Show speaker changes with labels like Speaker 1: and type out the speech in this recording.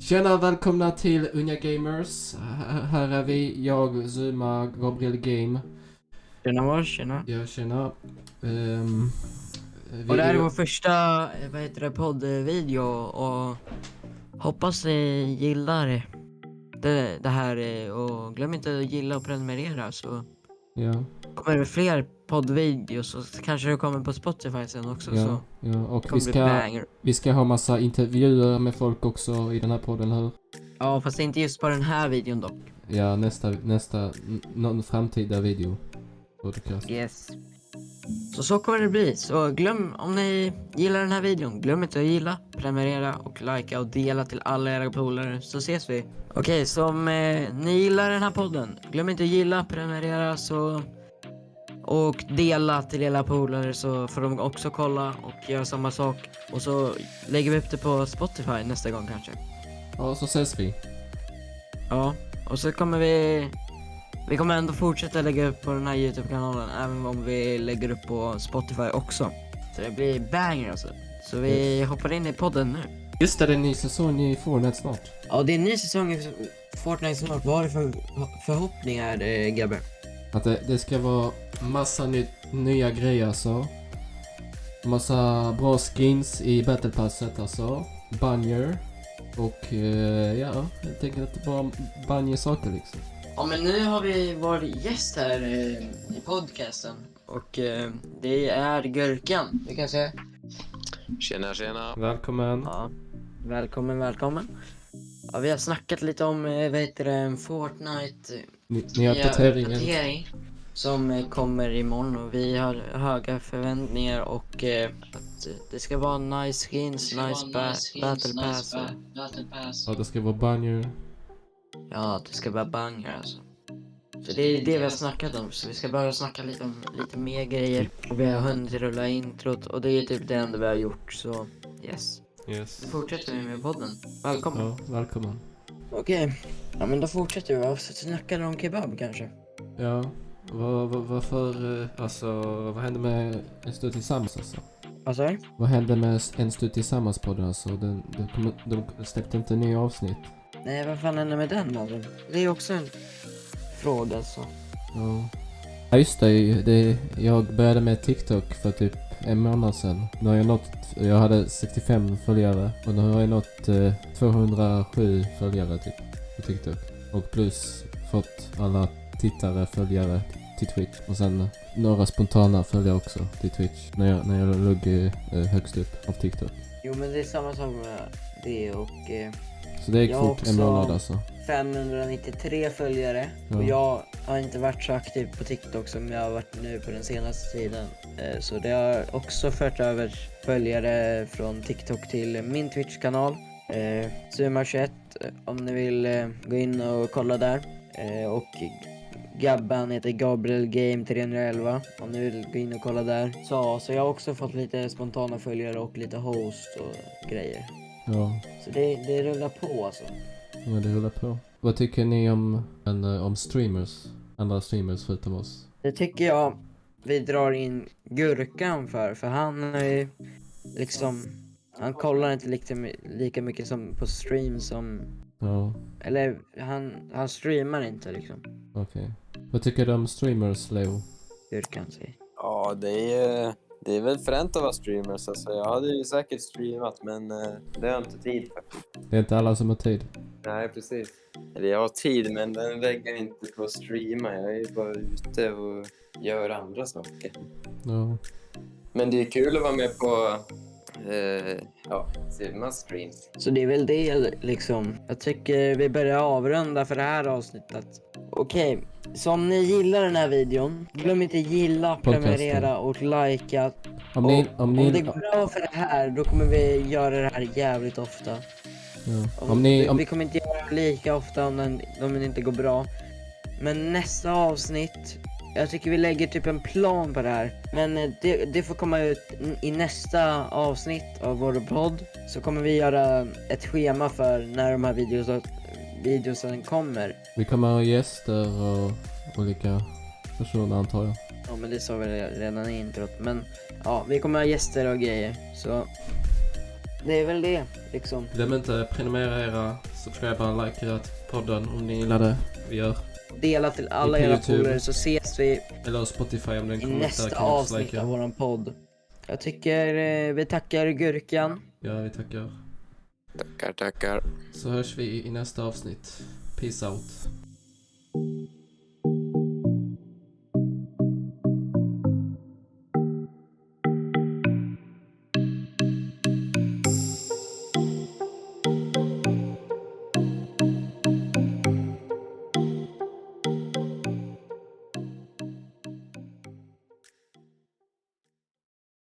Speaker 1: Tjena, välkomna till Unga Gamers. Här här är vi, jag, Zuma, Gabriel Game.
Speaker 2: Tjena mors, tjena.
Speaker 1: Ja, tjena. Ehm, vi-
Speaker 2: Och det här är vår första, eh, vad heter det, poddvideo och hoppas ni gillar det, det här eh, och glöm inte att gilla och prenumerera så
Speaker 1: Ja,
Speaker 2: kommer det fler poddvideos och så kanske det kommer på Spotify sen också så
Speaker 1: ja, ja.
Speaker 2: det
Speaker 1: Och vi
Speaker 2: kommer bli
Speaker 1: ska,
Speaker 2: banger.
Speaker 1: vi ska ha massa intervjuer med folk också i den här podden, eller hur?
Speaker 2: Ja fast inte just på den här videon dock.
Speaker 1: Ja, nästa, nästa, n- någon framtida video. Podcast.
Speaker 2: Yes. Så så kommer det bli. Så glöm, om ni gillar den här videon, glöm inte att gilla, prenumerera och likea och dela till alla era polare så ses vi. Okej, så om eh, ni gillar den här podden, glöm inte att gilla, prenumerera så och dela till era polare så får de också kolla och göra samma sak. Och så lägger vi upp det på Spotify nästa gång kanske.
Speaker 1: Ja, så ses vi.
Speaker 2: Ja, och så kommer vi... Vi kommer ändå fortsätta lägga upp på den här Youtube-kanalen även om vi lägger upp på Spotify också. Så det blir banger alltså. Så vi hoppar in i podden nu.
Speaker 1: Just det, det är en ny säsong i Fortnite snart.
Speaker 2: Ja, det är en ny säsong i Fortnite snart. Vad har du för förhoppningar, eh, grabbar?
Speaker 1: Att det, det ska vara massa ny, nya grejer alltså. Massa bra skins i battlepasset alltså. Banjer. Och eh, ja, helt enkelt bara banja saker liksom.
Speaker 2: Ja, men nu har vi vår gäst här eh, i podcasten. Och eh, det är Gurkan, vi kan säga.
Speaker 3: Tjena tjena!
Speaker 1: Välkommen.
Speaker 2: Ja, välkommen, välkommen. Ja, vi har snackat lite om, eh, vad heter det, Fortnite.
Speaker 1: Ni, ni har
Speaker 2: Ja,
Speaker 1: uppdateringen.
Speaker 2: uppdatering Som eh, kommer imorgon och vi har höga förväntningar och eh, att eh, det ska vara nice skins, nice, ba- battle pass. och-
Speaker 1: Ja, det ska vara banjer.
Speaker 2: Ja, att det ska vara banger alltså. Så det är det vi har snackat om, så vi ska börja snacka lite om lite mer grejer. Och vi har hunnit rulla introt och det är typ det enda vi har gjort så yes.
Speaker 1: Yes.
Speaker 2: Nu fortsätter vi med podden. Välkommen.
Speaker 1: Ja, välkommen.
Speaker 2: Okej, ja men då fortsätter vi och så snackar vi om kebab kanske.
Speaker 1: Ja, vad, vad, varför, eh, alltså vad hände med En stund tillsammans alltså?
Speaker 2: Vad sa du?
Speaker 1: Vad hände med En stund tillsammans podden alltså? Den, den kom, de släppte inte nya avsnitt.
Speaker 2: Nej, vad fan händer med den mannen? Det är också en fråga så.
Speaker 1: Ja. ja just det, det. Jag började med TikTok för typ en månad sedan. Nu har jag nått, jag hade 65 följare och nu har jag nått eh, 207 följare typ på TikTok. Och plus fått alla tittare, följare till Twitch. Och sen några spontana följare också till Twitch när jag, när jag låg eh, högst upp av TikTok.
Speaker 2: Jo, men det är samma sak med det och eh,
Speaker 1: Så det gick
Speaker 2: Jag
Speaker 1: fort, en
Speaker 2: också.
Speaker 1: månad alltså.
Speaker 2: 593 följare.
Speaker 1: Ja.
Speaker 2: Och jag har inte varit så aktiv på TikTok som jag har varit nu på den senaste tiden. Eh, så det har också fört över följare från TikTok till min Twitch-kanal. Eh, Suma21 eh, om ni vill eh, gå in och kolla där. Eh, och Gabban heter Gabriel Game 311 om ni vill gå in och kolla där. Så, så jag har också fått lite spontana följare och lite host och grejer.
Speaker 1: Ja,
Speaker 2: Så det, det rullar på alltså.
Speaker 1: ja det rullar på. Vad tycker ni om, en, eh, om streamers? Andra streamers förutom oss?
Speaker 2: Det tycker jag vi drar in Gurkan för, för han är ju liksom... Han kollar inte liksom lika mycket som på stream som...
Speaker 1: Ja.
Speaker 2: Eller han, han streamar inte liksom,
Speaker 1: Okej. Vad tycker du om streamers, Leo?
Speaker 2: Gurkan säger.
Speaker 3: Ja, det är, det är väl fränt att vara streamers. Alltså, jag hade ju säkert streamat, men eh, det har jag inte tid för.
Speaker 1: Det är inte alla som har tid.
Speaker 3: Nej, precis. Eller jag har tid, men den lägger inte på att streama. Jag är bara ute och gör andra saker.
Speaker 1: Ja.
Speaker 3: Men det är kul att vara med på eh, ja, Simmas streams.
Speaker 2: Så det är väl det liksom. Jag tycker vi börjar avrunda för det här avsnittet. Okej, så om ni gillar den här videon, glöm inte gilla,
Speaker 1: Podcasten.
Speaker 2: prenumerera och likea.
Speaker 1: Om
Speaker 2: Och
Speaker 1: ni... Om ni...
Speaker 2: det går bra för det här, då kommer vi göra det här jävligt ofta.
Speaker 1: ja. om ni om,
Speaker 2: Vi kommer inte göra det lika ofta om den, om den inte går bra. Men nästa avsnitt, jag tycker vi lägger typ en plan på det här. Men eh, det, det får komma ut n- i nästa avsnitt av vår podd. Så kommer vi göra ett schema för när de här videos, videosen kommer.
Speaker 1: vi kommer ha gäster och olika personer antar jag.
Speaker 2: Ja men det sa vi redan i introt. Men ja, vi kommer ha gäster och grejer. Så det är väl det liksom.
Speaker 1: Glöm inte prenumerera, era, subscriba, likea podden om ni gillar det vi gör.
Speaker 2: Dela till alla
Speaker 1: Vi på
Speaker 2: era
Speaker 1: YouTube.
Speaker 2: polare så ses vi
Speaker 1: Eller Spotify om den
Speaker 2: i
Speaker 1: kommer upp där kan
Speaker 2: nästa
Speaker 1: ni också
Speaker 2: avsnitt av
Speaker 1: likea.
Speaker 2: våran podd. Jag tycker eh, vi tackar Gurkan.
Speaker 1: Ja, vi tackar.
Speaker 3: Tackar, tackar.
Speaker 1: Så hörs vi i nästa avsnitt. Peace out.